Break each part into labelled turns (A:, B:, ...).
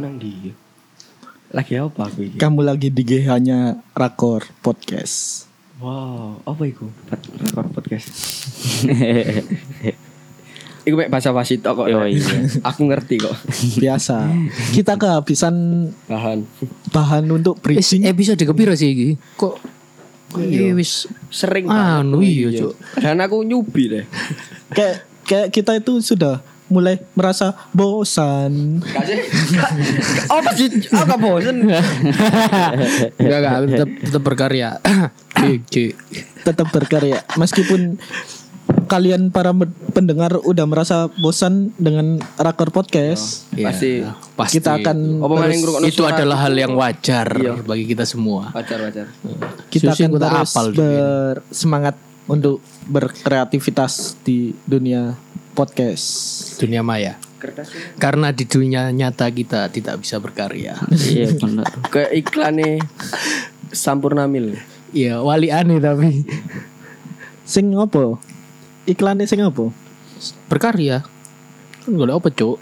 A: nang di lagi apa aku ini
B: Iya. Kamu lagi di GH-nya Rakor Podcast.
A: wow apa itu Pod- rekor podcast itu mek bahasa basi tok kok
C: Yo, iya.
A: aku ngerti kok
B: Biasa. Kita kehabisan
A: bahan
B: bahan untuk
D: Wis
B: bridging.
D: episode kepiro sih iki? Kok Iya wis
A: sering
C: Ah,
D: Anu, iya, Cuk.
A: dan aku nyubi deh
B: Kayak kayak kita itu sudah mulai merasa bosan.
A: kasih
D: Oh,
A: apa sih apa bosen
D: enggak enggak aku tetap tetap berkarya. Cik, cik.
B: Tetap berkarya meskipun kalian para med- pendengar udah merasa bosan dengan Rakor Podcast.
C: Iya.
A: Pasti.
D: Ya, pasti.
B: Kita akan
A: Apa maning ngrungokno
D: itu
A: suara
D: adalah hal yang wajar
A: Iya.
D: bagi kita semua.
A: wajar wajar
B: kita
D: Susi
B: akan
D: kita
B: terus
D: apal juga.
B: bersemangat untuk berkreativitas di dunia podcast.
D: Dunia maya. Karena di dunia nyata kita tidak bisa berkarya.
C: Iya bener.
A: ke iklannya Sampurna Mil
D: Iya, wali aneh tapi
B: Sing ngopo? Iklannya sing ngopo?
D: berkarya. Kan golek apa, Cuk?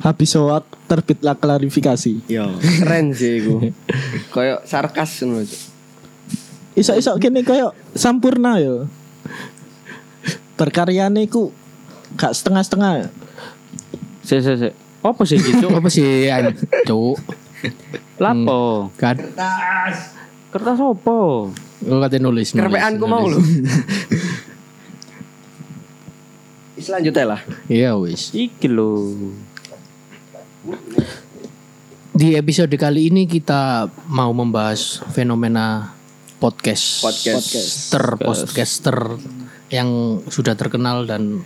B: Habis soak terbitlah klarifikasi.
A: Yo, keren sih iku. Kayak sarkas ngono. Cuk.
B: Isok-isok kene koyo sampurna yo. Berkaryane ku gak setengah-setengah.
C: Sik sik sik. Apa sih iki, Cuk?
D: Apa sih, an- Cuk?
A: Hmm.
C: Lapo?
D: Kan
C: Kertas opo?
D: Gue katanya nulis nulis,
A: Kerpeanku
D: nulis.
A: mau lho. Selanjutnya lah.
D: Iya wis
C: Iki lho.
D: Di episode kali ini kita mau membahas fenomena podcast
A: Podcast.
D: Podcaster Podcaster Yang sudah terkenal dan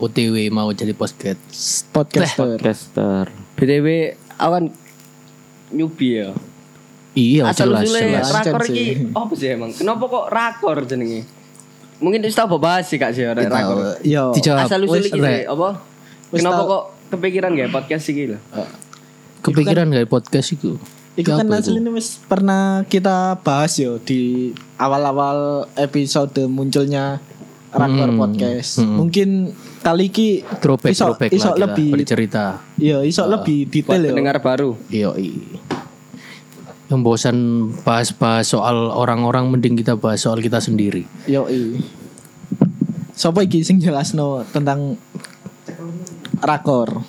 D: OTW mau jadi podcast
B: Podcaster.
C: Caster.
A: BTW awan kan nyubi ya.
D: Iya
A: Asal ya.
D: jelas
A: usule
D: jelas
A: rakor
B: Lancen sih.
A: iki apa sih emang? Kenapa kok rakor jenenge? Mungkin wis tau bahas sih Kak sih orang
D: Kita-
A: rakor.
B: Yo.
D: Dijawab
A: Asal usul
D: Wis,
A: iki
D: Rek.
A: sih, apa?
B: Wis
A: Kenapa
B: tau.
A: kok kepikiran gak podcast iki lho?
D: Kepikiran gak podcast itu
B: Iku kan asline wis pernah kita bahas yo di awal-awal episode munculnya Rakor
D: Hmm,
B: Podcast.
D: hmm.
B: Mungkin kali iki
D: Throwback
B: isok,
D: throwback
B: isok
D: lah kita
B: lebih
D: bercerita
B: yo isok lebih
A: Buat
B: detail yo.
A: pendengar baru.
D: Iya i- Yang bosan bahas-bahas soal orang-orang Mending kita bahas soal kita sendiri
B: Yo i. Sopo iki sing jelasno tentang Rakor?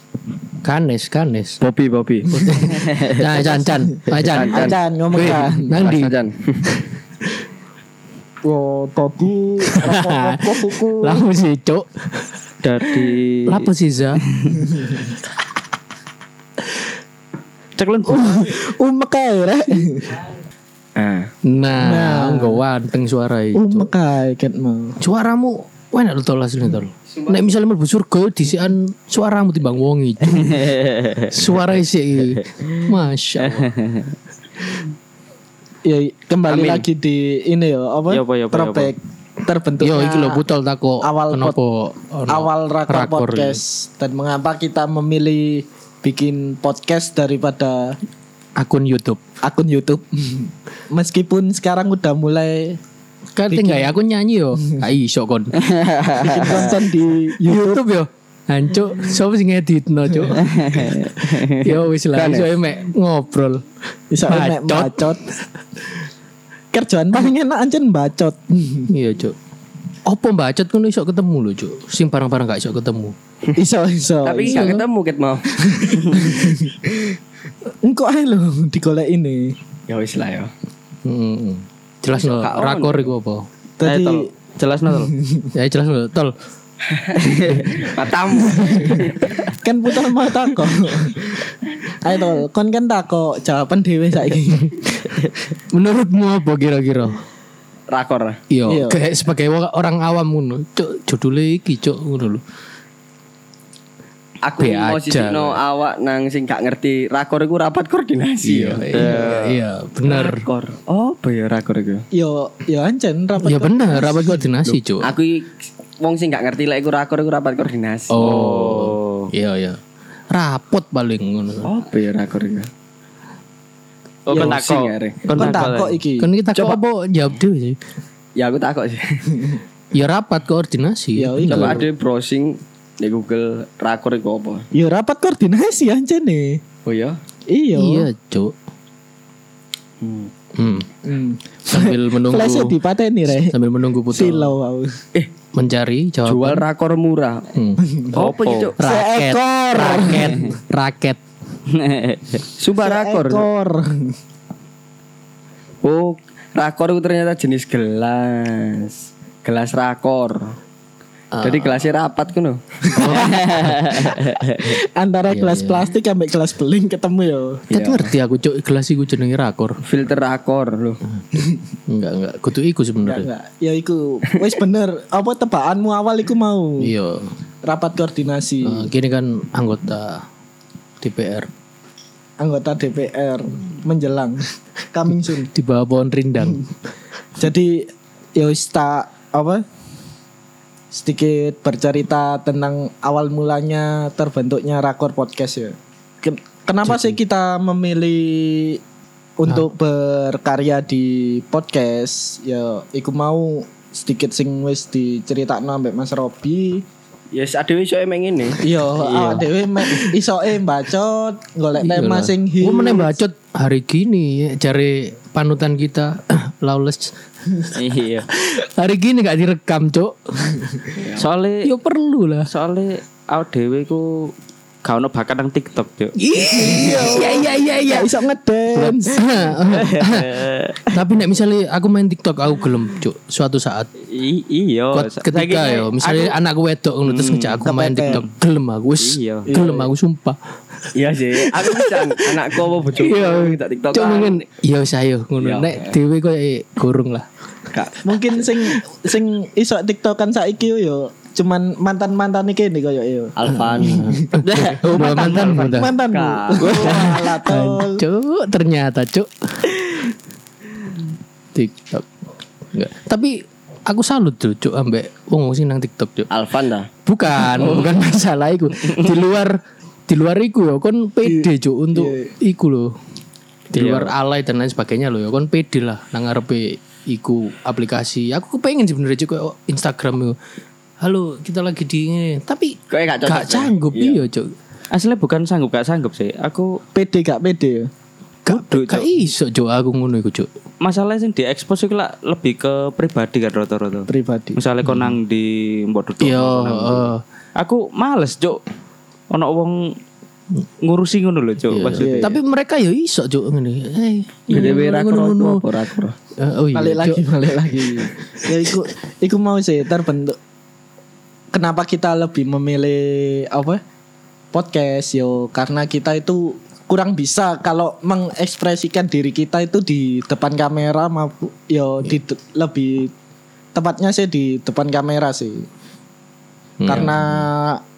D: Kanes kanes
A: Bobby Bobby.
D: Nah, Chan, Chan, Nah, Chan, Chan.
B: Acan ngomong kan.
D: Nang di.
B: Yo tadi rokok kuku.
D: Lamu sih, Cuk.
C: Dari
D: Lapo sih, Za?
C: Ceklon.
B: Umek ae rek.
D: Iya,
A: Ah.
D: Nah, enggak wanteng suara itu.
B: Umek ae ket mau.
D: Suaramu enak lu tolas lu tol. Nek misalnya mlebu surga disian suaramu timbang wong itu. Suara isi Masya Allah.
B: Ya kembali
A: Amin.
B: lagi di ini yo apa?
C: Ya, apa, ya, apa, ya,
B: Throwback terbentuknya
D: Yo iki lho butol tako
B: awal
D: kenapa ono
B: awal rakor,
D: rakor ya.
B: podcast dan mengapa kita memilih bikin podcast daripada
D: akun YouTube.
B: akun YouTube. Meskipun sekarang udah mulai
D: Kan tinggal ya aku nyanyi yo. Kayak iso kon.
B: bikin konten di YouTube.
D: YouTube yo. Hancuk, sapa sing editno, Cuk? Yo wis lah, iso ae mek ngobrol.
B: Bisa enak
D: Bacot.
B: bacot. Kerjaan paling enak anjen bacot.
D: Iya cuk. Apa bacot kan iso ketemu lho cuk. Sing barang-barang gak iso ketemu.
B: iso iso.
A: Tapi
B: iso.
A: gak ketemu ket mau.
B: engko ae lho digolek ini.
A: Ya wis lah ya.
D: Heeh. Jelas lho
A: gak ono.
D: rakor iku apa.
C: Eh,
B: Tadi
C: jelas no tol.
D: Ya jelas lho tol.
A: Matamu.
B: kan putar mau takok. Ayo tol, kon kan takok jawaban dhewe saiki.
D: Menurutmu apa kira-kira?
A: Rakor.
B: Iya.
D: Iya, kayak sebagai wa- orang awam ngono. Cuk, judule iki cuk ngono lho.
A: aku
D: Be
A: mau
D: aja.
A: sisino awak nang sing gak ngerti rakor iku rapat koordinasi ya.
D: Iya, iya, bener.
A: Rakor. Oh, apa ya rakor iku?
B: Yo yo ancen rapat.
D: Ya bener, rapat koordinasi cuk.
A: Aku i- wong sing gak ngerti lek iku rakor iku rapat koordinasi.
D: Oh. Iya, iya. Rapot paling ngono.
A: Apa ya rakor iku?
C: Oh,
A: Ya,
C: kon
A: pusing
C: takok.
A: ya, Re.
C: Kon
B: kon takok
C: takok.
B: iki.
D: Kan kita kok apa jawab dhewe sih.
A: Ya aku takut sih.
D: Ya rapat koordinasi.
B: Iya, iya.
A: Coba ada browsing di Google rakor iku apa?
B: Yo rapat koordinasi ancen e. nih.
A: Oh ya.
B: Iya.
D: Iya, Cuk. Hmm.
B: Hmm.
D: Sambil menunggu
B: Flashnya dipateni Rey.
D: sambil menunggu putra
B: Silau aku.
D: mencari jawab.
A: Jual rakor murah.
D: Hmm.
A: Apa itu?
D: Raket,
B: Seekor.
D: raket, raket.
A: Subah rakor.
B: Seekor.
A: Oh, rakor itu ternyata jenis gelas. Gelas rakor. Jadi gelasnya rapat kan
B: Antara gelas plastik sampai gelas beling ketemu yo.
D: Tet ngerti aku cuk gelas iku jenenge rakor.
A: Filter rakor loh.
D: Enggak, enggak. Kudu iku
B: Enggak
D: sebenarnya.
B: enggak. Ya iku wis bener. Apa tebakanmu awal iku mau?
D: Iya.
B: Rapat koordinasi
D: Eh, Gini kan anggota DPR
B: anggota DPR menjelang coming soon.
D: di bawah pohon rindang.
B: Jadi ya wis tak apa? Sedikit bercerita tentang awal mulanya terbentuknya Rakor Podcast ya. Ke- Kenapa sih kita memilih untuk berkarya di podcast? Ya iku mau sedikit sing wis diceritakno ambek Mas Robi.
A: Yes, Ya, adewe iso emang ini.
B: Yo, awak dhewe me- isoke bacot golek tema sing hits.
D: Gue menembak bacot hari gini ya, cari panutan kita lawless.
C: Iya.
D: hari gini gak direkam, Cuk.
C: Soale
D: Ya perlu lah.
C: soale awak dhewe iku gak ono bakat nang TikTok, Cuk.
D: Iya iya iya iya.
B: Gak Ya, iso ngedance.
D: Tapi nek misalnya aku main TikTok aku gelem, Cuk. Suatu saat
C: I- iya.
D: Kuat
C: Sa-
D: ketika
C: saiki- Hmm,
D: ya, misalnya anakku wedok ngono terus ngejak aku main TikTok, gelem aku wis.
C: Iya.
D: Gelem aku sumpah.
A: Iya sih. Iya. Aku bisa anakku apa bojoku
C: Iya,
A: kita TikTok.
D: Cuk mungkin ya wis ayo ngono. Nek dhewe koyo gorong lah.
B: mungkin sing sing iso tiktokan saiki yo cuman mantan mantan iki nih koyo yo
A: Alvan.
D: Oh, mantan mantan.
B: mantan
A: Kak.
B: bu Walah, tol.
D: Cuk, ternyata cuk. TikTok. Enggak. Tapi aku salut tuh cuk ambek wong wong sing nang TikTok cuk.
A: Alvan dah.
D: Bukan, bukan masalah iku. Di luar di luar iku ya kon PD cuk untuk iku loh. Di luar alay dan lain sebagainya loh ya kon PD lah nang ngarepe iku aplikasi. Aku kepengen sebenarnya cuk kayak Instagram yo. Halo, kita lagi di ini. Tapi
A: Kok gak cocok.
D: gak sanggup iya cuk.
C: Aslinya bukan sanggup gak sanggup sih. Aku
B: pede gak pede
D: Gak, gak iso cuk aku ngono iku cuk.
C: masalahnya sing diekspos iku lah lebih ke pribadi kan rata-rata.
B: pribadi
C: Misalnya kau nang di Mbok Duduk.
D: Iya,
C: kau nang-
D: heeh.
C: Aku males, Cuk. Ono wong ngurusi ngono lho, Cuk. Maksudnya.
D: Tapi mereka ya iso cuk ngene. Eh,
A: Dewe
D: ngono,
A: Iya, rakor
D: ngono,
A: apa
D: ngono.
A: rakor.
D: Eh, Oh iya.
B: balik
D: Cuk.
B: lagi balik lagi ya iku iku mau sih terbentuk kenapa kita lebih memilih apa podcast yo karena kita itu kurang bisa kalau mengekspresikan diri kita itu di depan kamera maupun yo di de- lebih tepatnya sih di depan kamera sih karena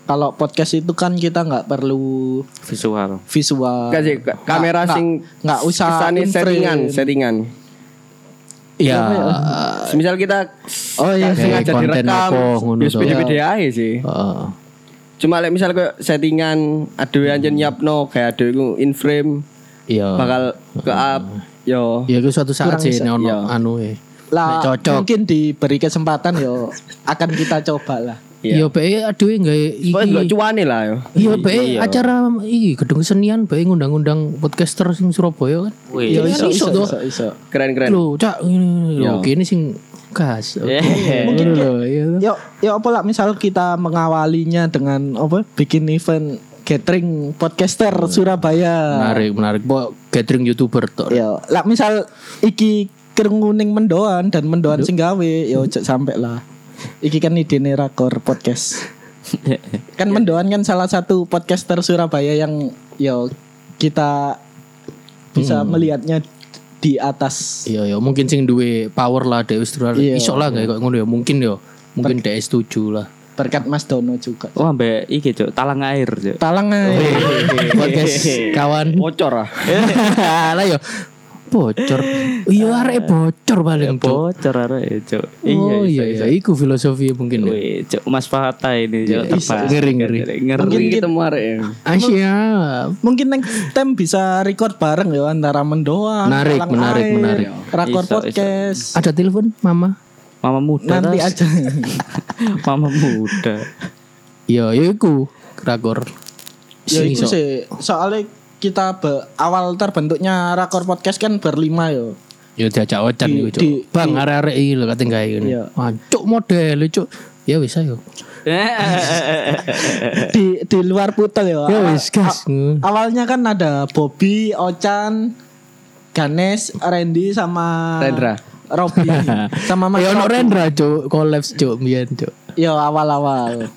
B: kalau podcast itu kan kita nggak perlu
C: visual.
B: visual
A: Kasih ka- kamera
B: Nggak-
A: sing
B: nggak usah
A: kesane
B: in-frame.
A: settingan, settingan.
D: Ya.
A: Semisal kita
D: Oh iya,
A: gak sengaja
D: konten
A: direkam,
D: apa ngono
A: ya
D: to.
A: beda-beda aja sih.
D: Heeh.
A: Cuma like misal kayak settingan aduh anjen nyiapno kayak aduh iku in frame
D: Iya.
A: bakal ke up yo.
D: Ya itu suatu saat
B: Kurang
D: sih
B: bisa.
D: nek ono
A: Iya.
D: anu e.
B: lah
D: Nek cocok.
B: mungkin diberi kesempatan yo akan kita coba lah
D: Iya, bae aduh nggak
A: Pokoknya ndelok
D: iki.
A: cuane lah yo.
D: Iya, bae acara iki gedung kesenian bae ngundang-undang podcaster sing Surabaya kan.
C: Wih.
D: Iya, kan iso
B: iso,
D: tuh.
B: iso.
A: Keren-keren.
D: Lho, cak ngene lho, kene sing gas. Oke. Mungkin lho, iya. tuh.
B: Yo, yo apa lah misal kita mengawalinya dengan apa bikin event gathering podcaster Surabaya.
D: Menarik, menarik. Bo gathering YouTuber tok.
B: Yo, lah misal iki kerenguning mendoan dan mendoan sing gawe, yo ojo sampe lah. Iki kan idene rakor podcast. kan mendoan kan salah satu podcaster Surabaya yang yo kita bisa melihatnya di atas.
D: Iya ya, mungkin sing duwe power lah Dewi Sudra.
B: Iya.
D: Iso lah kayak ngono ya, mungkin ya. Mungkin Dewi setuju lah.
B: Berkat Mas Dono juga.
C: Oh, ambek iki, Cuk. Talang air, Cuk.
B: Talang eh.
D: Oh, iya.
B: ae.
D: Podcast kawan.
A: Bocor ah.
D: lah yo. Bocor. Iya arek bocor paling bocor.
C: Bocor arek, Cuk.
D: Oh
C: Iya,
D: iya iya, iku filosofi
B: Iya.
D: mungkin. ya.
C: Wih, Cuk, Mas Fata ini,
D: Iya,
C: Cuk. tepat.
D: ngeri, ngeri.
A: Mungkin
C: Ngeri.
A: kita arek. ya.
D: Asia.
B: Mungkin next time bisa record bareng ya antara mendoan,
D: Menarik,
B: Talang
D: menarik,
B: Air,
D: menarik.
B: Rakor
C: Iso, iso.
B: podcast.
D: Ada telepon mama?
C: Mama muda.
B: Nanti
C: tas.
B: aja.
C: Mama muda.
D: Iya, ya iku. Rakor.
B: ya
D: Sing
B: itu
D: iso.
B: sih soalnya kita be- awal terbentuknya rakor podcast kan berlima yo.
D: Ya diajak wajan
B: Di-
D: iku, Cuk.
B: di-
D: Bang arek-arek iki lho kating gawe ngene.
B: Iya.
D: Wah, Cuk model Cuk. Ya wis ayo.
B: di di luar putel yo.
D: Ya
B: Awal-
D: wis gas.
B: a- awalnya kan ada Bobby, Ochan, Ganes, Randy sama
A: Rendra.
B: Robby sama Mas
D: Ya ono
B: Rob.
D: Rendra Cuk, collapse Cuk mbiyen Cuk.
B: Yo awal-awal.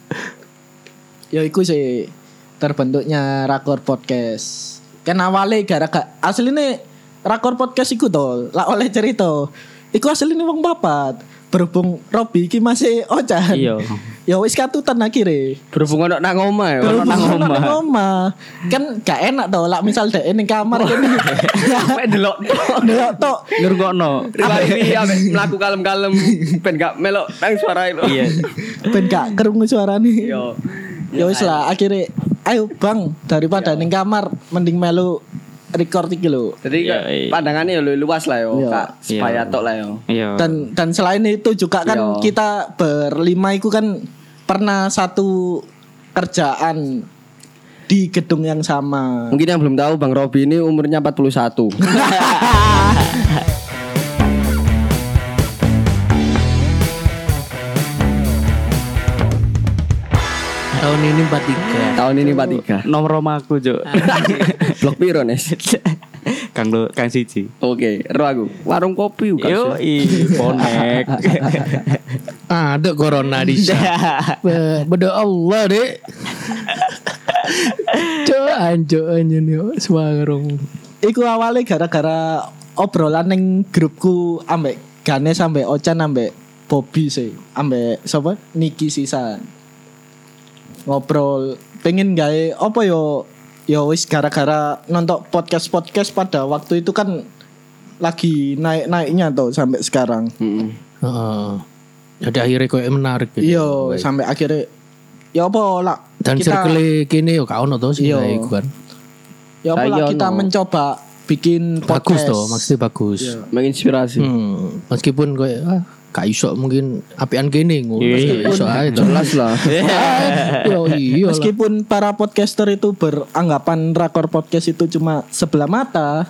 B: Yo iku sih terbentuknya rakor podcast. Kan awalnya gara-gara aslinya rakor podcast iku to, lah oleh cerita. Iku aslinya wong papat. Berhubung Robi iki masih ocan.
C: Iya.
B: Yo wis katutan akhirnya.
A: Berhubung ono nang omah ya, ono nang
B: Berhubung
A: omah.
B: nang omah. Kan gak enak to, lah misal dek ning kamar kan. kene.
A: Mek delok tok.
B: Delok tok.
C: Ngrungokno.
A: Riwari ambek mlaku kalem-kalem ben gak melok nang suara lo.
C: Iya.
B: Ben gak kerungu suarane.
A: Yo.
B: Ya wis lah akhirnya ayo Bang daripada ning kamar mending melu record iki lho.
A: Jadi
C: Iya,
A: kak,
C: iya.
A: pandangannya ya lu- luas lah yo,
B: Iya.
A: Kak. Supaya tok lah yo.
C: Iya.
B: Dan dan selain itu juga kan
A: Iya.
B: kita berlima itu kan pernah satu kerjaan di gedung yang sama.
A: Mungkin yang belum tahu Bang Robi ini umurnya 41.
D: Tahun ini 43.
A: Tahun ini 43.
C: Nomor omaku, Cuk.
A: Blok piro, Nes?
C: Kang lo Kang siji.
A: Oke, ro aku. Warung kopi bukan
C: Yo
A: sih?
C: i bonek.
D: Ada Ah, corona di sana. Be- Beda Allah dek. Cuk anjuk anjen yo suarung.
B: Iku awalnya gara-gara obrolan ning grupku ambek Ganes ambek Ocan ambek Bobby sih, ambek siapa? Niki sisa. Ngobrol pengen gawe apa yo yo wis gara-gara nonton podcast-podcast pada waktu itu kan lagi naik-naiknya tuh sampai sekarang.
A: Heeh.
D: Heeh. Jadi akhirnya koyo menarik gitu.
B: Iya, sampai akhirnya ya apa lah
D: Dan circle kini yo gak ono to sih
B: Iya.
D: iku kan.
B: ya apa lah
A: Saya
B: kita
A: ono.
B: mencoba bikin
D: Bagus
B: podcast.
D: to, maksudnya bagus.
B: Iya.
A: Menginspirasi.
D: Hmm, meskipun koyo ah, gak iso mungkin apian kene ngono.
C: Iya,
D: Iso ae to.
A: Jelas lah.
D: Ah, Yo iya. lah.
B: Meskipun para podcaster itu beranggapan rakor podcast itu cuma sebelah mata,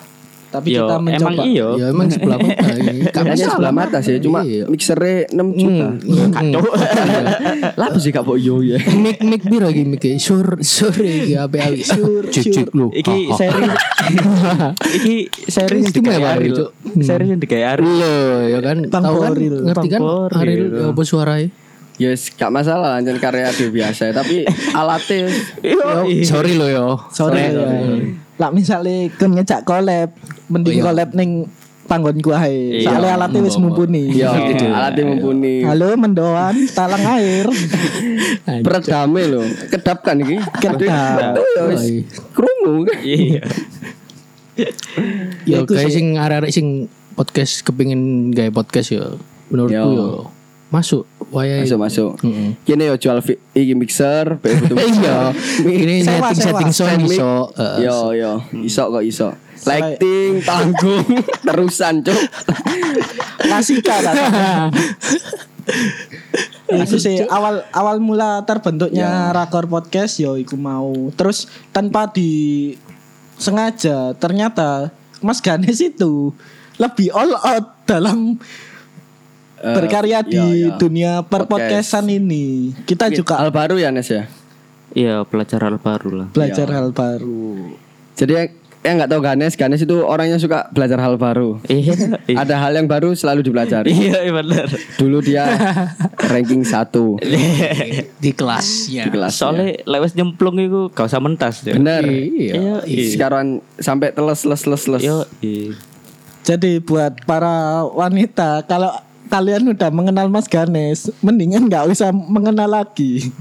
B: tapi
C: Yo
B: kita mencoba.
C: emang iya. iyo.
D: Ya emang sebelah mata. Kami
A: Kayaknya sebelah mata sih, cuma mixernya 6 juta.
D: kacau.
A: Hmm. Iya. Lah sih Kak Bok yo ya.
D: Mik mik biru lagi mik sur sur iki ape ape sur cicik
B: Oh,
D: lu.
C: Iki seri Iki seri yang
D: Istimewa
C: digawe Ari,
D: itu.
C: Cuk. Seri yang digawe Ari.
D: Lo ya kan
B: Bang
D: tahu kan
B: Boril.
D: ngerti kan
C: Bang Boril.
D: Aril ya apa suaranya?
A: Yes, Ya, gak masalah lanjut karya dia biasa, tapi alatnya
D: Yo, sorry lo yo.
B: Sorry. ya. Lah misalnya kon ngejak collab, mending collab ning panggonku ae.
C: Iya.
B: Soalnya alatnya wis mumpuni.
A: ya alatnya mumpuni.
B: Halo mendoan, talang air.
A: Peredame lho, kedap kan iki.
B: Kedap.
A: Betul ya, wis Krungu.
C: Iya.
B: Ya,
D: Yo
B: iku
D: guys
B: sih.
D: sing arek-arek sing podcast kepingin gawe podcast yo. Menurutku
A: Yo.
D: yo masuk wayahe.
A: Masuk masuk.
D: Iya. Mm-mm.
A: Kini yo jual fi- iki mixer, bae butuh mixer.
D: Iya, ini
B: Sewa,
D: setting setting
B: sewa.
D: sound iso. eh,
A: Yo yo, iso kok iso.
B: Selain-
A: Lighting tanggung terusan cuk.
B: Kasika lah.
A: Iya,
B: Ya, Itu sih awal awal
A: Ya.
B: mula terbentuknya rakor podcast yo iku mau. Terus tanpa di sengaja ternyata Mas Ganes itu lebih all out dalam
A: Eh,
B: berkarya
A: iya,
B: di
A: iya.
B: dunia
A: Podcast.
B: perpodcastan ini. Kita juga
A: Hal baru ya Nes ya.
C: Iya, pelajaran baru lah.
B: belajar
A: iya.
B: hal baru.
A: Jadi yang- yang nggak tahu Ganes, Ganes itu orangnya suka belajar hal baru.
C: Iya. Iya,
A: Ada hal yang baru selalu dipelajari.
C: Iya, iya, bener.
A: Dulu dia ranking satu
D: Di
A: di
D: kelasnya.
A: kelas.
C: Soalnya lewes nyemplung itu gak usah mentas
A: ya.
C: Cuk.
A: Bener.
D: Iya.
A: Sekarang sampai teles les les les.
C: Iya, iya.
B: Jadi buat para wanita kalau kalian udah mengenal Mas Ganes, mendingan nggak usah mengenal lagi.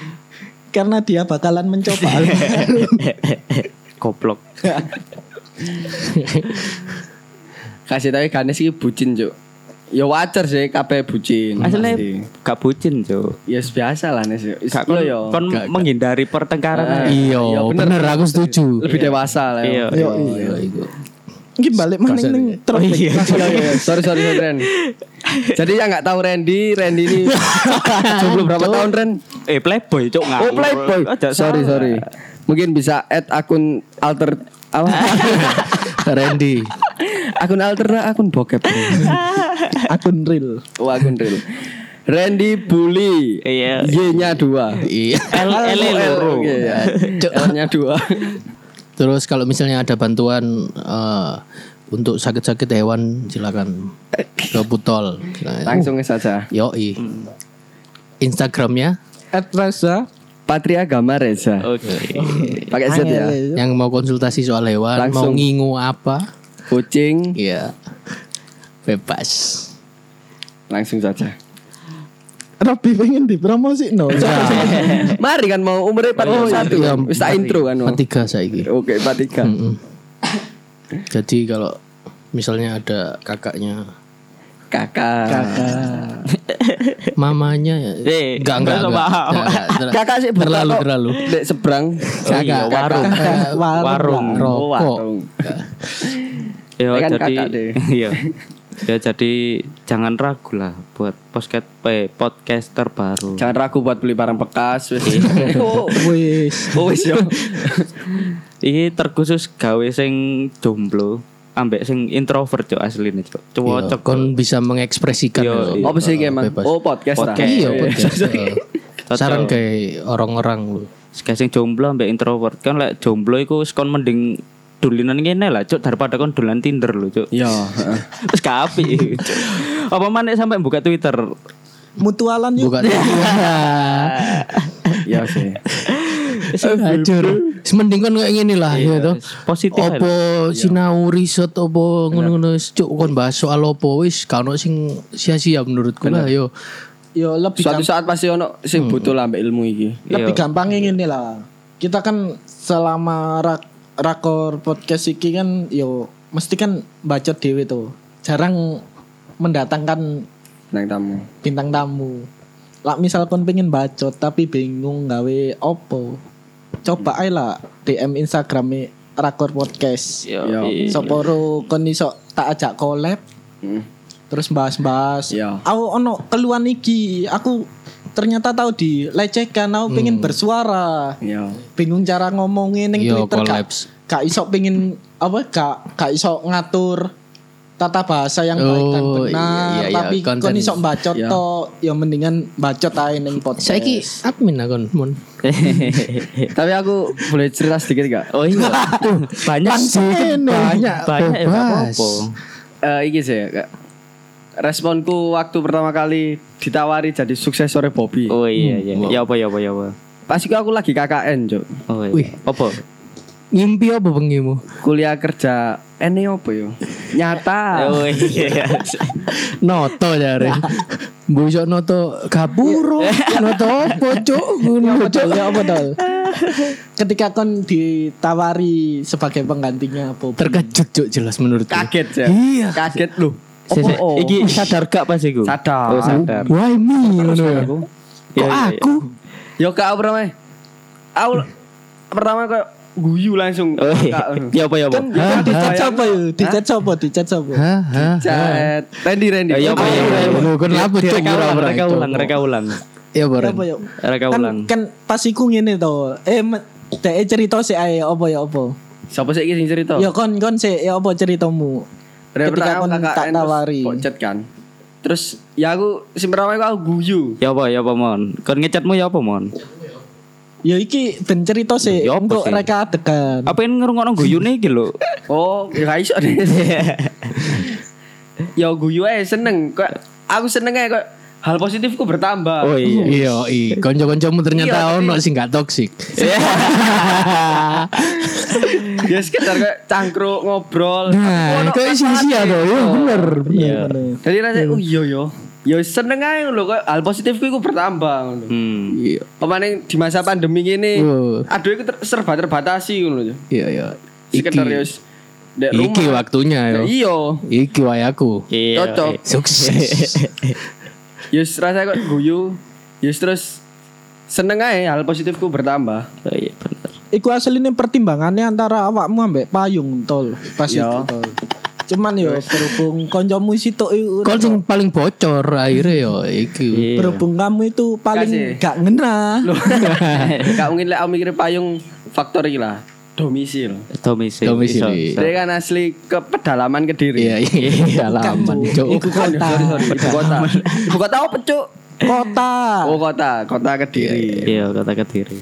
B: Karena dia bakalan mencoba. hal baru.
C: Goblok.
A: Kasih tahu Ganes ini bucin cuk. Ya wajar sih kabeh bucin.
C: Aslinya gak bucin, Cuk.
A: Ya yes, biasa lah Nes. Is-
C: Gak
A: lo
C: kon,
A: Iya, yo.
C: kon menghindari pertengkaran.
D: Iya,
A: Iya, bener.
D: bener aku setuju.
A: lebih dewasa lah. yo.
C: Iya,
B: Yo,
D: Iya, iku.
B: Ini balik mana ini? Tropik.
A: Iya, iya, iya. sorry sorry sorry Ren. Jadi yang nggak tahu Randy, Randy ini jomblo berapa tahun Ren?
C: Eh, playboy, Cuk.
A: Oh
C: ngawur.
A: playboy.
C: Aja
A: sorry
C: oh, salah.
A: sorry. Mungkin bisa add akun alter apa?
D: Randy.
A: akun alterna akun bokep.
B: akun real
A: Wah, akun real. Randy Bully.
C: Iya.
A: Y-nya 2.
D: Iya.
C: L L loro.
A: ya. L-nya 2.
D: Terus kalau misalnya ada bantuan eh, untuk sakit-sakit hewan silakan ke Butol.
A: Langsung saja.
D: Yoi. Instagramnya
B: at Reza
A: Patria Gama Reza.
C: Oke.
A: Pakai Z ya.
B: Angel.
D: yang mau konsultasi soal hewan, mau
A: Langsung.
D: ngingu apa?
A: Kucing
D: Iya. Bebas.
A: langsung saja.
B: Robby pengen dipromosi no
A: Mari kan mau umurnya 41
D: iya,
A: kan. Wis tak intro kan. mau.
D: Tiga saiki.
A: Oke, 43.
D: Mm. Jadi kalau misalnya ada kakaknya,
A: Kakak.
D: mamanya ya.
C: Eh,
D: Enggak, enggak,
C: nggak
D: enggak.
C: paham.
D: Enggak, enggak, enggak.
A: Kakak sih buta
D: Terlalu,
A: kok.
D: terlalu.
A: Dek seberang.
D: Oh iya, warung.
B: Kakak warung.
D: Warung.
A: Oh,
D: Rokok.
A: warung.
C: Ya
A: Kan
C: jadi
A: kakak deh.
C: iya. Ya jadi jangan ragu lah buat podcast eh, podcast terbaru.
A: Jangan ragu buat beli barang bekas wis.
D: Iya.
A: Oh,
B: Wis.
A: oh, wis yo.
C: Iki terkhusus gawe sing jomblo ambek sing introvert cok asline cok. Cocok
D: Kon bisa mengekspresikan.
C: Iya,
D: loh.
A: Apa sih iki, Mas?
D: Bebas.
A: Oh, podcast lah.
C: Podcast.
D: Iya,
A: Iya.
D: podcast. Saran kayak orang-orang lu.
C: Sekali sing jomblo ambek introvert kan lek jomblo iku wis kon mending dulinan ngene lah cuk daripada kon dolan Tinder lho cuk.
A: Iya, heeh.
C: Wis kapi. Cuk. Apa maneh sampai buka Twitter?
B: mutualan yuk
D: Bukan.
A: Iya sih.
D: Hancur. Mending kon kayak gini lah ya toh.
C: Positif aja.
D: Opo sinau riset opo ngono-ngono wis, cuk kon bahas soal opo wis kano sing sia-sia menurutku lah yo.
B: yo lebih
A: Suatu saat pasti ono sing
D: Hmm.
A: butuh lah ambek ilmu iki.
B: lebih gampangnya gini lah kita kan selama rak- rakor podcast iki kan yo mesti kan baca dewi tuh jarang mendatangkan
A: Nang tamu.
B: bintang tamu lah misal kon pengen bacot tapi bingung gawe opo coba aja lah DM Instagram rakor podcast
C: Yo.
A: Yo.
C: iya. i-
B: Soporo kon iso tak ajak collab
A: Heeh.
B: terus bahas-bahas.
A: Iya.
B: Aku ono keluhan iki, aku ternyata tahu dilecehkan, aku pengen bersuara.
A: Iya.
B: Bingung cara ngomongin ning
D: Iya,
B: Twitter gak,
D: collapse.
B: gak iso pengen apa gak gak iso ngatur tata bahasa yang baik dan
D: Oh,
B: benar,
D: iya, iya,
B: tapi
D: konten.
B: kon iso bacot
A: Iya.
B: tok, ya mendingan bacot ae ning podcast.
D: Saiki admin akon mon.
A: Tapi aku boleh cerita sedikit gak?
C: Oh iya.
D: banyak
C: banyak banyak ya nggak
D: bebas.
C: apa-apa.
A: Eh iki sih Kak. Responku waktu pertama kali ditawari jadi suksesornya Bobby.
C: Oh iya iya. Ya apa ya apa ya apa.
A: Pas itu aku lagi KKN, Cuk.
C: Oh iya.
D: Wih.
C: Apa?
D: Ngimpi apa bengimu?
A: Kuliah kerja ene apa yo? Nyata.
C: Oh iya.
D: Noto jare. Mbok noto kapuro, noto opo cuk ngono
B: Betul,
D: cuk.
B: ya apa tol? Ketika kon ditawari sebagai penggantinya Bobby.
D: Terkejut cuk jelas menurutku.
A: Kaget ya.
D: Iya.
A: Kaget lu.
C: Sik, sik. Iki sadar gak pas iku?
A: Sadar.
C: Oh sadar.
D: Why me ngono ya. Kok aku?
A: Yo kak aku pertama. Aku pertama kayak guyu langsung.
C: Oh iya. Ya apa ya apa.
A: Kan
D: Hah?
B: Dicat
A: dicat
B: sapa yo? Dicat sapa? Dicat sapa?
D: Ha ha.
A: Dicat. Randy Randy.
C: Ya apa ya apa. ya, apa.
D: Lho, kenapa, Cuk?
C: Direka ulang,
D: Murah-murah
C: Reka
D: itu.
C: ulang, reka ulang.
D: Ya bareng.
B: Apa yo?
C: Reka
B: kan,
C: ulang.
B: kan pas iku ngene to. Eh me- dhek cerita sih ae apa ya apa.
A: Siapa sih iki sing cerita?
B: Ya kon kon sih ya apa ceritamu.
A: Dari pertama
B: ketika kon
A: KKN
B: tak
A: terus
B: tawari.
A: Kocet kan. Terus ya aku sing pertama iku aku guyu.
C: Ya apa ya apa mon. Kon ngecatmu ya apa mon.
B: Ya iki ben cerita sih
C: Ya apa
B: untuk
C: sih?
B: reka adegan.
C: Apa yang ngerungokno guyune iki lho.
A: Oh, ya gak iso deh. ya guyu ae seneng. Kok aku seneng ae kok hal positifku bertambah.
C: Oh iya.
D: Iya, iya.
A: Iya,
D: Konco-koncomu ternyata
A: tapi-
D: ono sing gak toksik.
A: ya sekedar kayak cangkruk ngobrol. Aku ono
D: Nah, kayak
A: manfaatnya.
D: sia-sia tuh. Iya, bener. bener.
A: Jadi rasanya oh iya yo. Yo seneng ae lho kok hal positifku iku bertambah ngono.
C: Hmm.
A: Iya. Pemaning di masa pandemi ini,
D: Oh.
A: aduh itu ter- serba terbatasi ngono lho.
D: Iya, iya. Iki,
A: Sekedar yo wis ndek
D: iki
A: rumah.
D: waktunya
A: Ya
D: yo.
A: Iya.
D: Iki wayaku.
C: Iya.
A: Cocok.
D: Sukses.
A: Yus rasanya kok guyu. Yus terus seneng aja hal positifku bertambah.
C: Oh iya bener.
B: Iku asline pertimbangannya antara awakmu ambek payung tol pas
A: Ya.
B: itu tol. Cuman yo berhubung koncomu situ iku
D: Kon sing paling bocor akhirnya yo iki.
C: Iya.
B: berhubung kamu itu
A: Kasih.
B: paling gak ngena.
A: Gak mungkin lah aku mikir payung faktor iki lah domisil.
C: Domisili.
D: Domisili.
C: Iso, iso.
A: Dia kan asli ke pedalaman Kediri.
D: Iya
B: Bukan,
D: iya laman
B: Cuk.
D: Cuk.
B: Iku kota.
A: Sorry, sorry, ibu kota. Ibu kota apa, Cuk?
B: Kota.
A: Oh, kota, kota Kediri.
C: Iya, kota Kediri.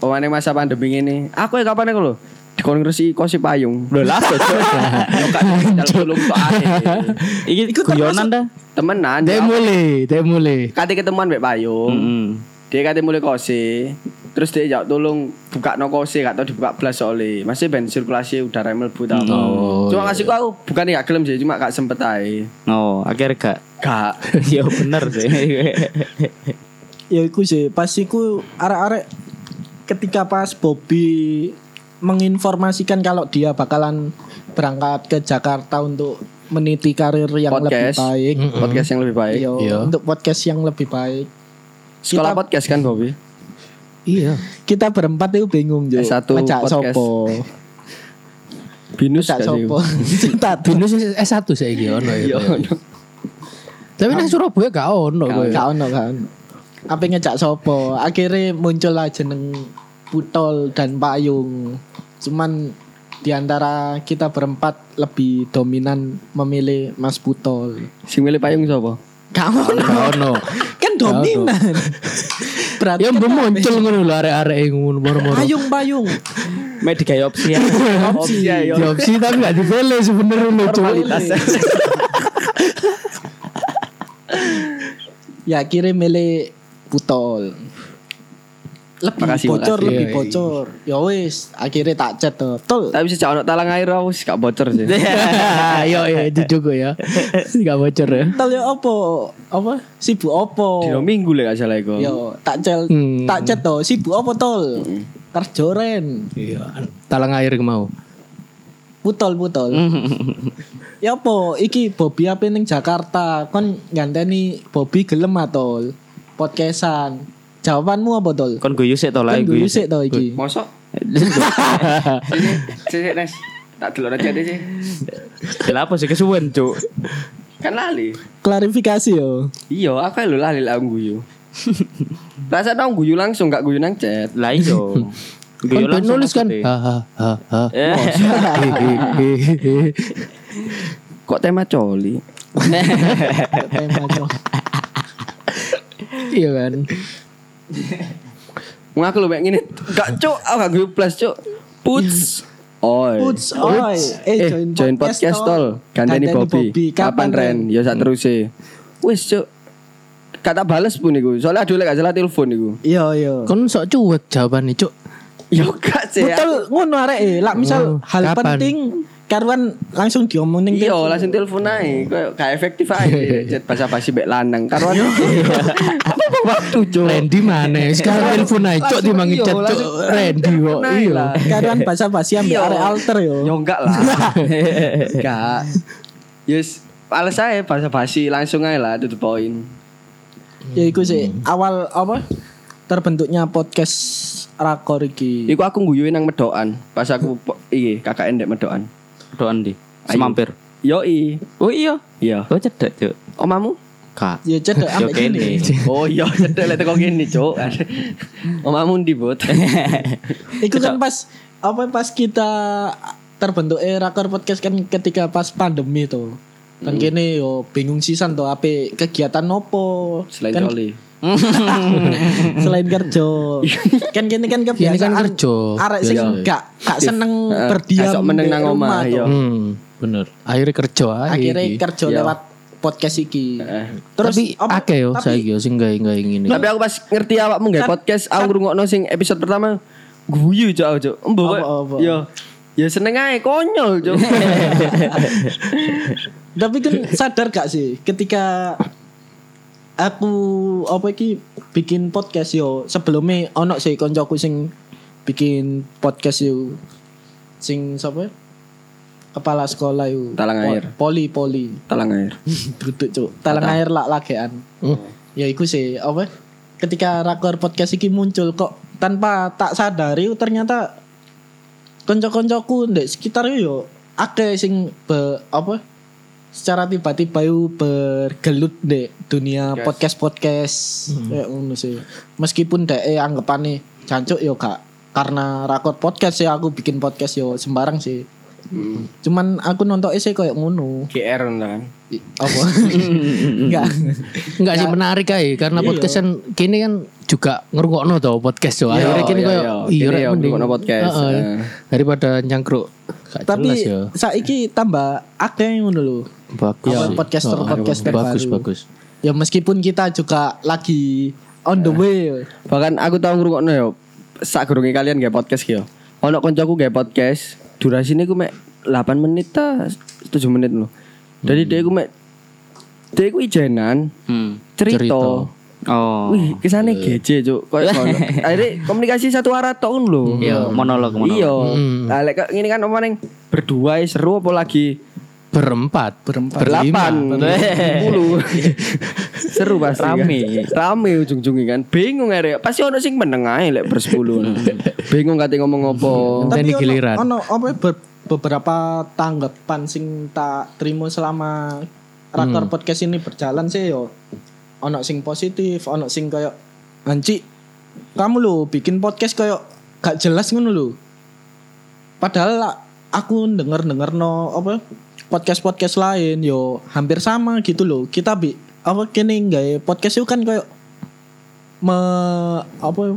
A: Pemane masa pandemi ini. Aku ya kapan aku lho? Dikongresi kosi payung.
C: Lho lah
A: Yo gak digital belum soalnya.
C: Iki guyonan dah.
A: Temenan.
D: Dek
A: ya.
D: mulai, dek mulai.
A: Kate ketemuan mbek payung.
C: Mm-mm.
A: Dia kate mulai kosi. Terus dia jauh tolong buka no kosi, gak tau dibuka belas soalnya. Masih ben sirkulasi udara mlebu tau.
D: Oh,
A: cuma kasih aku bukan gak gelem sih, cuma gak sempet ae.
C: Oh, akhirnya gak.
A: Gak.
C: Ya bener sih.
B: Ya iku sih pas iku arek-arek ketika pas Bobby menginformasikan kalau dia bakalan berangkat ke Jakarta untuk meniti karir yang
A: Podcast. Hmm.
B: lebih baik.
A: Podcast yang lebih baik.
B: Yo,
D: Iya.
B: untuk podcast yang lebih baik.
A: Sekolah
B: Kita-
A: podcast kan, Bobby?
D: Iya.
B: Kita berempat itu bingung juga.
A: S1
B: Ngejak
A: Eh, podcast.
B: sopo?
A: Binus
B: Ngejak
A: gak sih?
B: sopo? Tak
D: Binus S1 saiki ono ya.
A: Iya,
D: koyo.
A: ono.
D: Tapi nang Surabaya gak ono ya.
A: Gak
D: koyo.
B: Gak ono gak ono. Apa ngejak sopo? Akhirnya muncullah jeneng Putol dan Payung. Cuman di antara kita berempat lebih dominan memilih Mas Putol.
A: Sing milih payung sapa?
B: Gak ono.
D: Gak ono.
B: Kan dominan. Berarti
D: Ya
B: kan
D: mbok muncul ngono lho arek-arek yang ngono moro-moro.
B: Payung Payung.
C: Mek digawe opsi ya.
A: Opsi ya, yo.
D: Di opsi tapi gak dipilih sebenarnya lho Cuk.
B: Ya akhirnya milih Putol. Lebih
A: Makasih,
B: bocor,
A: makasih.
B: lebih
D: Iya, iya.
B: bocor. Ya wis, akhirnya tak chat tuh. Tol.
A: Tapi sejak ono talang air aku sih gak bocor sih.
D: Yo yo dijogo ya. Gak bocor ya.
B: Tol ya opo? Apa? Sibuk opo?
A: Dino minggu lek gak salah iku.
B: Yo, tak cel,
D: Hmm.
B: tak chat to, sibuk apa tol? Kerja ren.
D: Iya, talang air mau.
B: Putol putol. Ya apa iki Bobby apa ning Jakarta? Kon nganteni Bobby gelem ah tol. Podcastan. Jawabanmu apa tol?
C: Kon guyu sik to lah
B: Kan
A: ya?
C: guyu.
B: gue sik to iki.
A: Mosok? Sini, sini, Nes. Tak delok aja deh sih.
C: Lah apa sih kesuwen, Cuk?
A: Kan lali.
B: Klarifikasi yo.
A: Iya, aku lho lali lek aku guyu. Rasa tau guyu langsung gak guyu nang chat.
C: Lah iya. iyo.
D: Kan
C: Guyu
D: ben
C: langsung
D: nulis kan.
C: maksudnya.
D: Ha ha ha ha.
C: Eh.
A: Kok tema coli?
B: Tema Col.
D: Iya kan.
A: Wong aku lho mek ngene. Gak cuk, aku gak guyu plus cuk. Puts. Oi.
B: Puts oi. Eh join,
A: Join podcast tol. Ganteni Bobby. Kapan Ren? Ya sak teruse. Wis cuk. Kata bales pun iku. Soalnya aduh lek gak salah telepon iku.
B: Yo yo.
D: Kon sok cuek jawabane Cuk.
A: Yo gak sih.
B: Betul ngono arek e. Lah misal
D: Oh,
B: hal
D: kapan?
B: penting karuan langsung diomongin
A: Iya,
B: telepon.
A: langsung telepon aja. Kayak gak efektif aja. Chat basa-basi bek lanang. Karuan. Waktu cuk.
D: Randy mana? Sekarang telepon aja Cuk dimangi
A: Langsung- iya,
D: chat Cuk.
A: langsung-
D: Randy kok.
A: Nah,
D: Iya.
A: lah.
B: Karuan bahasa basi ambil
A: Iya.
B: arek alter yo.
A: Yo enggak lah. enggak. Yes, males aja basa-basi langsung aja lah to the point.
B: Ya iku sih awal apa terbentuknya podcast Rakor iki.
A: Iku aku nguyuin nang Medokan pas aku po- iya KKN ndek Medokan.
C: Doan di. Semampir.
A: Yo i.
C: Oh iya.
A: Iya.
C: Oh cedek, Cuk.
A: Omamu?
C: Kak.
B: Ya cedek
C: Yo
B: ambek
C: kene.
B: gini.
A: Oh iya, cedek lek teko ngene, Cuk. Omamu ndi, Bot?
B: Iku kan pas apa pas kita terbentuk eh, Rakor podcast kan ketika pas pandemi tuh. Kan
A: Hmm.
B: kene yo bingung sisan tuh ape kegiatan nopo.
A: Selain
B: kan,
A: coli.
B: selain kerja. kan kene kan kebiasaan.
D: Ini kan kerja.
B: Arek sing gak gak seneng
A: Eh,
B: berdiam
A: gak sok meneng
B: di
A: nang
B: rumah
A: omah,
B: tuh.
A: yo.
D: Hmm, bener. Akhirnya kerja aja.
B: Akhirnya
D: Ah, iki.
B: kerja
A: Iya.
B: lewat podcast iki.
A: Heeh.
B: Terus
D: tapi
B: apa-
D: akeh yo
B: tapi-
D: saiki yo sing gawe gawe ngene.
A: Tapi aku pas ngerti awakmu nggak
B: Sat-
A: podcast, aku
B: sat-
A: ngrungokno sing episode pertama guyu cok aku, cok. Embo.
B: Apa, apa?
A: Yo. Ya seneng ae konyol cok.
B: Tapi kan sadar gak sih ketika aku apa iki bikin podcast yo sebelumnya ono sih koncoku sing bikin podcast yo sing sapa ya? kepala sekolah yo
A: Talang air.
B: poli poli
A: Talang air.
B: duduk cuk talang air lak lagean
D: Hmm.
B: ya iku sih apa ketika rakor podcast iki muncul kok tanpa tak sadari oh, ternyata konco-koncoku ndek sekitar yo akeh sing be, apa secara tiba-tiba yo bergelut ndek dunia Ya, podcast podcast kayak ngono sih meskipun dek anggapane eh, jancuk yo gak karena rakot podcast ya aku bikin podcast yo sembarang sih. Cuman aku nonton sih kayak ngono.
A: GR kan.
B: I- Apa?
D: Mm,
B: Enggak.
D: Enggak
A: Ya.
D: sih menarik ae karena
A: Iya.
D: podcast kan kini kan juga ngrungokno to podcast yo.
A: Iya,
D: Akhirnya kini
A: iya,
D: koyo
A: iya.
D: iya
A: Kini
D: rek,
A: yo
D: mending.
A: ngrungokno podcast,
D: Heeh.
A: eh.
D: Daripada nyangkruk gak
B: Tapi
D: jelas ya. yo.
B: saiki tambah akeh ngono lho.
D: Bagus.
B: Apa
D: sih.
B: podcaster-
D: Iya. Heeh,
B: podcaster
D: bagus
B: baru.
D: bagus.
B: Ya meskipun kita juga lagi on the
D: Iya.
B: way. yo.
A: Bahkan aku tahu ngrungokno yo sak gurunge kalian gak podcast ki yo. Ono koncoku gak podcast, durasine ku mek 8 menit ta 7 menit loh.
D: Hmm.
A: Jadi dia ku mek dia ku ijenan
C: Hmm.
A: cerita.
D: Cerita.
C: Oh.
A: Wih, kesane gece cuk. Kayak ngono. Akhirnya komunikasi satu arah tok ngono lho.
C: Iya, monolog monolog.
A: Iya.
D: Hmm.
A: Lah lek kok ngene kan apa ning berdua ya seru apa lagi
D: Berempat, berempat,
A: delapan
D: berlima.
A: bulu seru pasti kan.
C: Rame.
A: rame ujung-ujungnya kan bingung area pasti ono sing meneng ae lek bersepuluh bingung kate ngomong apa
D: Nanti
B: ono-
D: giliran.
B: Ono apa ya? be- beberapa tanggapan sing tak terima selama rakor podcast ini berjalan sih yo. Ono sing positif, ono sing kayak anci kamu lo bikin podcast kayak gak jelas ngono lho. Padahal lah, aku denger-denger no apa ya, podcast-podcast lain yo hampir sama gitu loh. Kita bi apa kene nggak podcast itu kan kayak me apa ya,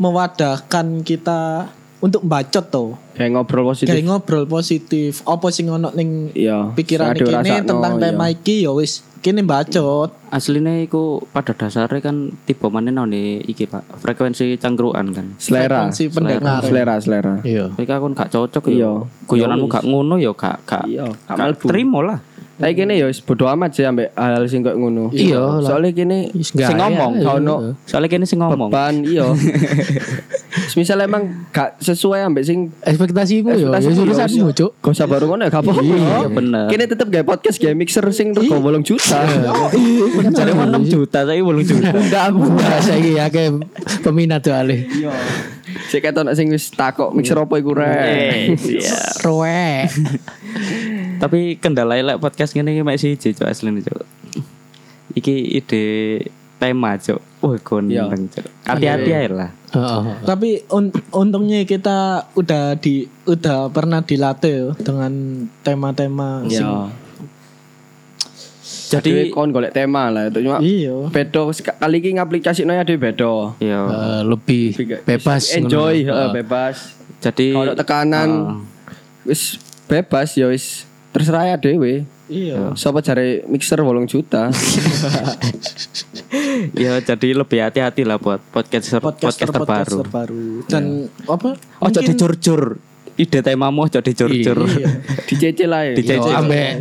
B: mewadahkan kita untuk bacot tuh
A: kayak Ya, ngobrol
B: kayak
A: positif
B: ngobrol positif apa sing ono ning
A: Iya,
B: pikiran
A: sing adu
B: kene
A: rasakno,
B: tentang
A: iya.
B: tema iki ya wis kene bacot
C: Aslinya iku pada dasarnya kan tipe mana nih iki pak frekuensi cangkruan kan.
A: selera
B: si pendengar
A: selera selera
D: Iya.
C: Mereka kan gak cocok
A: Iya.
C: ya. Guyonanmu gak ngono ya gak gak.
A: Iya, gak
C: gak
A: mlebu.
C: Terima lah.
A: tapi kene ya wis bodo amat sih ambek hal sing koyo ngono
D: Iya lah.
A: soalnya kene
D: Wis nggak
A: sing
D: ada,
A: ngomong
D: iya.
A: gak ono
C: Soalnya kini sih ngomong.
A: beban iya misal emang gak sesuai ambek sing
D: Ekspektasimu yo, ya
A: Ekspektasimu yo,
D: jurusanmu,
A: iya.
D: Cuk.
A: Gak usah baru ngono ya, gak apa-apa. Iya,
C: bener.
A: Kini tetep gak podcast gak mixer sing rego 8 juta.
C: Jadi mau 6 juta saya belum juta.
D: Enggak aku enggak saiki akeh peminat tuh Ale.
A: Sik ketok sing wis takok mixer opo iku rek.
D: Roek.
C: Tapi kendala lek podcast ngene iki mek siji cok asline cok. Iki ide tema cok. Wah gondeng cok. Hati-hati ae lah.
D: Heeh.
A: Iya.
B: tapi un- untungnya kita udah di udah pernah dilatih dengan tema-tema sing
A: Iya. Jadi
C: Jadi
A: kon golek tema lah itu cuma
B: iya
A: bedo sek- kali iki ngaplikasikno ya dhewe bedo.
C: yo
D: Eh, lebih bebas
A: enjoy
D: ngono.
A: heeh, bebas.
C: jadi
A: Kalau tekanan wis bebas ya wis terserah ya dhewe.
B: iya
A: Sapa jare mixer 8 juta.
C: ya jadi lebih hati-hati lah buat podcaster podcaster,
B: podcaster
C: baru.
B: podcaster baru dan apa
C: Oh jadi Iya. curcur. Ide temamu oh, jadi curcur.
A: Dicece lah ya.
D: Yo,
C: Dicece.
D: ambek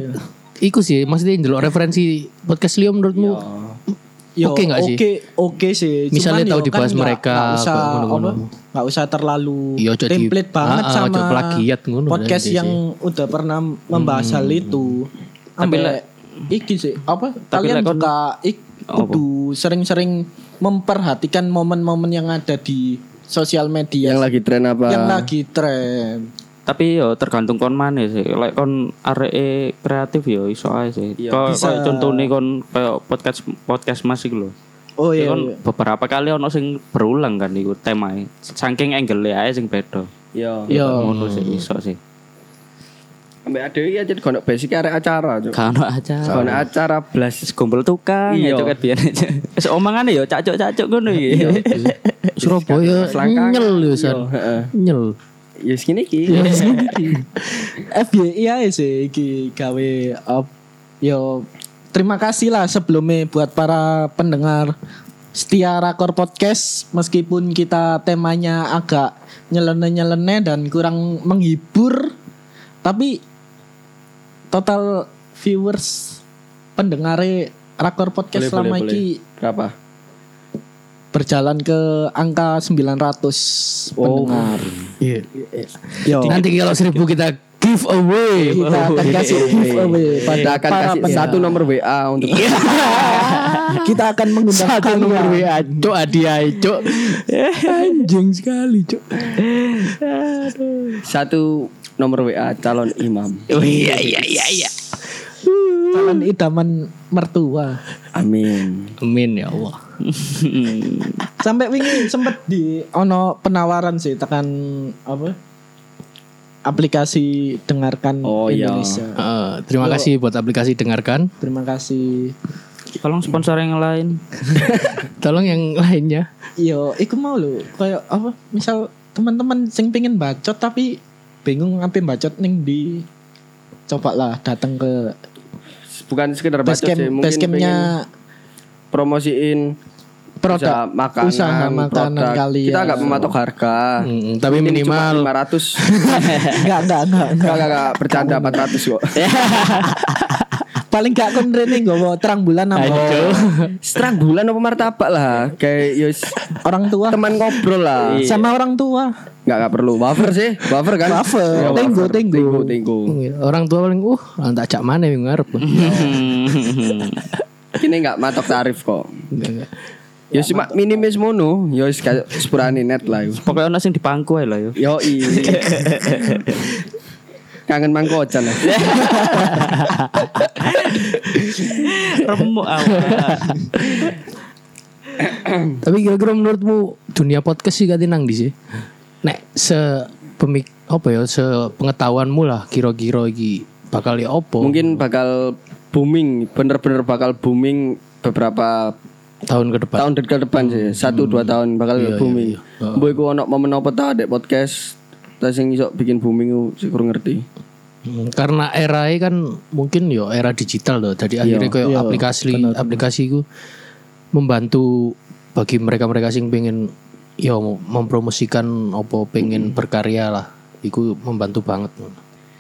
D: iku sih maksudnya ndelok referensi podcast Leo menurutmu
B: Yo,
D: Oke nggak sih?
B: Iya, Oke, oke sih.
D: Misalnya
B: Cuman
D: tahu
B: yo
D: dibahas
B: nggak-
D: mereka,
B: nggak usah
D: kayak ngono-ngono.
B: apa? Nggak usah terlalu
D: Iya, ojo di-
B: template banget
D: Ah, ah,
B: sama
D: ojo plagiat ngono, Hmm.
B: podcast
D: nanti
B: yang udah pernah membahas hal itu. Tapi iki sih apa? Kalian
C: lek Oh, kon-
B: juga ik, kudu sering-sering memperhatikan momen-momen yang ada di sosial media
A: Yang lagi tren apa?
B: yang lagi tren.
C: Tapi yo tergantung kon mana sih. Lek kon areke kreatif yo iso ae sih. Kok kok contone kon kayak podcast podcast Mas iku lho.
B: Oh iya.
C: Iya, kan beberapa kali ono sing berulang kan iku temae. Saking angle ae sing beda.
A: Yo.
B: Iya.
C: Ngono sih iso sih.
A: Ambek adewe ya jadi kono basic arek acara. Cuk.
C: Kan aja.
A: Kono acara blas.
C: Wis gombel tukang
A: Iya.
C: ya coket biyen aja. Wis omongane yo cacuk-cacuk ngono iki.
A: Iya.
D: Surabaya
A: Selangkangan.
D: nyel yo ya? san.
A: Yo, heeh.
D: Nyel.
A: Ya segini ki.
B: FYI aja sih iki gawe up. Yo terima kasih lah sebelumnya buat para pendengar setia Rakor Podcast meskipun kita temanya agak nyelene-nyelene dan kurang menghibur tapi total viewers pendengarnya Rakor Podcast selama ini
A: Berapa?
B: berjalan ke angka 900
A: Oh.
B: pendengar.
D: Iya.
B: Yo.
D: Nanti kalau seribu kita giveaway.
B: kita akan kasih
A: Eh,
B: giveaway
A: Kita
B: pada
A: akan
B: para
A: kasih
B: pendengar.
A: satu nomor WA untuk
B: kita akan mengundang
D: Satu
B: kalian.
D: nomor WA, cok hadiah, cok. Anjing sekali, cok.
A: satu nomor WA calon imam.
D: iya iya iya iya.
B: calon idaman mertua
A: Amin.
D: Amin ya Allah.
B: Sampai wingi sempet di ono penawaran sih tekan apa? Aplikasi dengarkan
A: Oh, iya.
B: Indonesia.
D: Heeh, Eh, terima
B: Yo.
D: kasih buat aplikasi dengarkan.
B: Terima kasih.
C: Tolong sponsor yang lain.
D: Tolong yang lainnya.
B: Yo, Iya, iku mau lho kayak apa? Misal teman-teman sing pengen bacot tapi bingung ngapain bacot ning di cobalah datang ke
A: Bukan sekedar bacot
B: basecamp
A: sih, mungkin pengen
B: basecampnya
A: promosiin usaha
B: produk
A: makanan,
B: usaha makanan
A: produk.
B: kalian.
A: Kita nggak mematok harga.
D: Mm, tapi minimal
A: 500.
B: enggak enggak enggak, enggak.
A: Enggak, enggak, enggak, bercanda 400 kok.
B: paling gak kon rene nggowo terang bulan nambah
A: Seterang bulan apa martabak lah. Kayak yo
B: orang tua
A: teman ngobrol lah.
B: sama orang tua
A: Enggak, enggak perlu. Wafer sih, wafer kan.
B: Wafer.
A: Ya,
B: Tenggo, tenggo.
A: Tenggo, tenggo.
D: orang tua paling uh tak ajak mana yang ngarep.
A: Ini enggak matok tarif kok.
D: Enggak, enggak.
A: Ya cuma minimis mono, ya wis kayak sepurane net lah yo.
C: Pokoknya ono sing dipangku ae lah ya.
A: Yo
C: yo.
A: i. Kangen ya. mangko ojan lah.
C: Remuk awak.
D: Tapi kira-kira menurutmu dunia podcast sih kati nang di sih? Nek se pemik apa ya se pengetahuanmu lah kira-kira iki bakal ya
B: Oh.
D: opo
A: Mungkin bakal booming, bener-bener bakal booming beberapa
D: tahun ke depan.
A: tahun ke depan sih.
B: Hmm.
A: Satu dua tahun bakal
B: Iya,
A: booming. Mbok iku ono momen apa ta dek podcast ta sing iso bikin booming ku sik kurang ngerti.
D: Hmm, Karena era ini kan mungkin yo era digital loh. Jadi
C: Iya,
D: akhirnya kayak aplikasi aplikasi itu membantu bagi mereka-mereka sing pengen yo mempromosikan opo pengen berkarya lah. Iku membantu banget.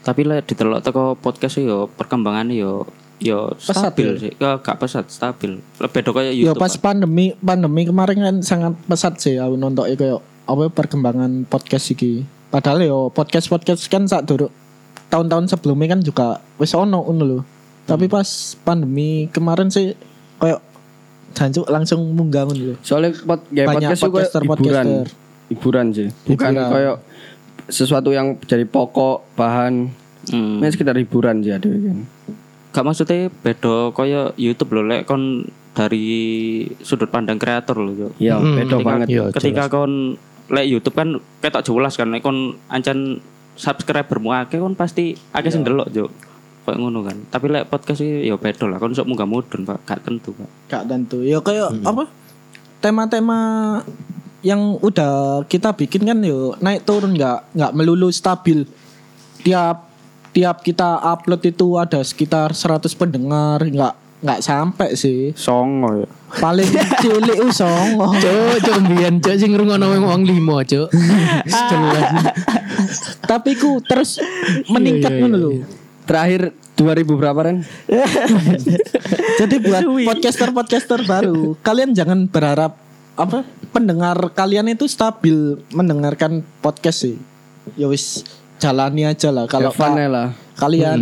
C: Tapi lah ditelok teko podcast yo perkembangannya yo yo
B: Pesat,
C: stabil sih. Ke gak pesat, stabil. Lebih do kayak
B: ya
C: YouTube.
B: pas pandemi pandemi kemarin kan sangat pesat sih aku nonton kayak apa perkembangan podcast iki padahal yo podcast podcast kan saat dulu tahun-tahun sebelumnya kan juga wis ono ngono lho tapi pas pandemi kemarin sih kayak jancuk langsung munggah ngono lho
A: Soalnya pod, gaya
B: Banyak
A: podcast itu kayak
B: podcaster-
A: hiburan,
B: podcaster.
A: hiburan sih. Bukan
B: Hiburan.
A: kayak sesuatu yang jadi pokok bahan.
C: Hmm.
A: Ini sekitar hiburan sih ada kan.
C: Gak maksudnya beda kayak YouTube loh lek kon dari sudut pandang kreator loh yo.
A: Ya,
B: Hmm.
A: beda banget.
D: Iya,
B: Oh,
C: ketika kon lek YouTube kan ketok jelas kan lek kon ancen subscribermu akeh kon pasti akeh sing delok yo. Kayak ngono kan. Tapi lek podcast iki ya beda lah kon sok munggah mudun Pak, gak tentu Pak.
B: Kak tentu. Ya kayak apa? Tema-tema yang udah kita bikin kan yo naik turun nggak nggak melulu stabil. Tiap tiap kita upload itu ada sekitar 100 pendengar, nggak nggak sampai sih.
C: Songo ya.
B: Paling cilik usong.
D: Cuk, cuk mbiyen cuk sing ngrungokno wong- wong limo cuk. Jelas.
B: Tapi ku terus meningkat
D: Iya, iya,
B: ngono lho.
A: Terakhir 2000 berapa Ren?
B: Jadi buat podcaster-podcaster baru, kalian jangan berharap apa pendengar kalian itu stabil mendengarkan podcast sih. Ya wis jalani aja lah kalau
C: Ya,
A: Kalau
B: ka-
A: fun aja lah.
B: kalian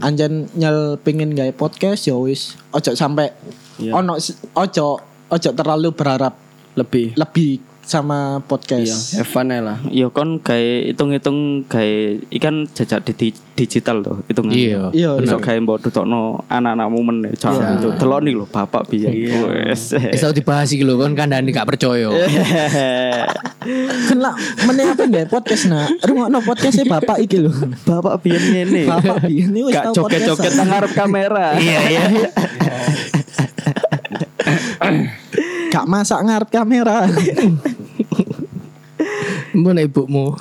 C: Hmm.
B: anjen nyel pengen gawe podcast ya wis ojo sampai
C: Ya.
B: ono s- ojo ojo terlalu berharap
A: Lebih. Iya,
B: lebih sama
C: Iya.
B: podcast.
A: Have fun aja lah.
C: Yo kon gawe hitung-hitung gawe ikan jejak di di- digital tuh hitungan.
D: Iya.
B: Iya,
C: Besok gawe mbok tutokno anak-anakmu meneh cah itu. Delok nih lho bapak biyen. Wes.
D: Wis tau dibahas iki lho kon kandhani gak percaya.
B: Kan lah meneh apa gawe podcast nah. Rungokno podcastnya bapak iki lho.
C: Bapak biyen ngene.
B: Bapak ini wis
C: Gak
B: tau
C: joget-joget
B: podcastan.
C: nang ngarep kamera. Iya iya.
B: Gak masak ngarep kamera.
D: Mbok ibumu.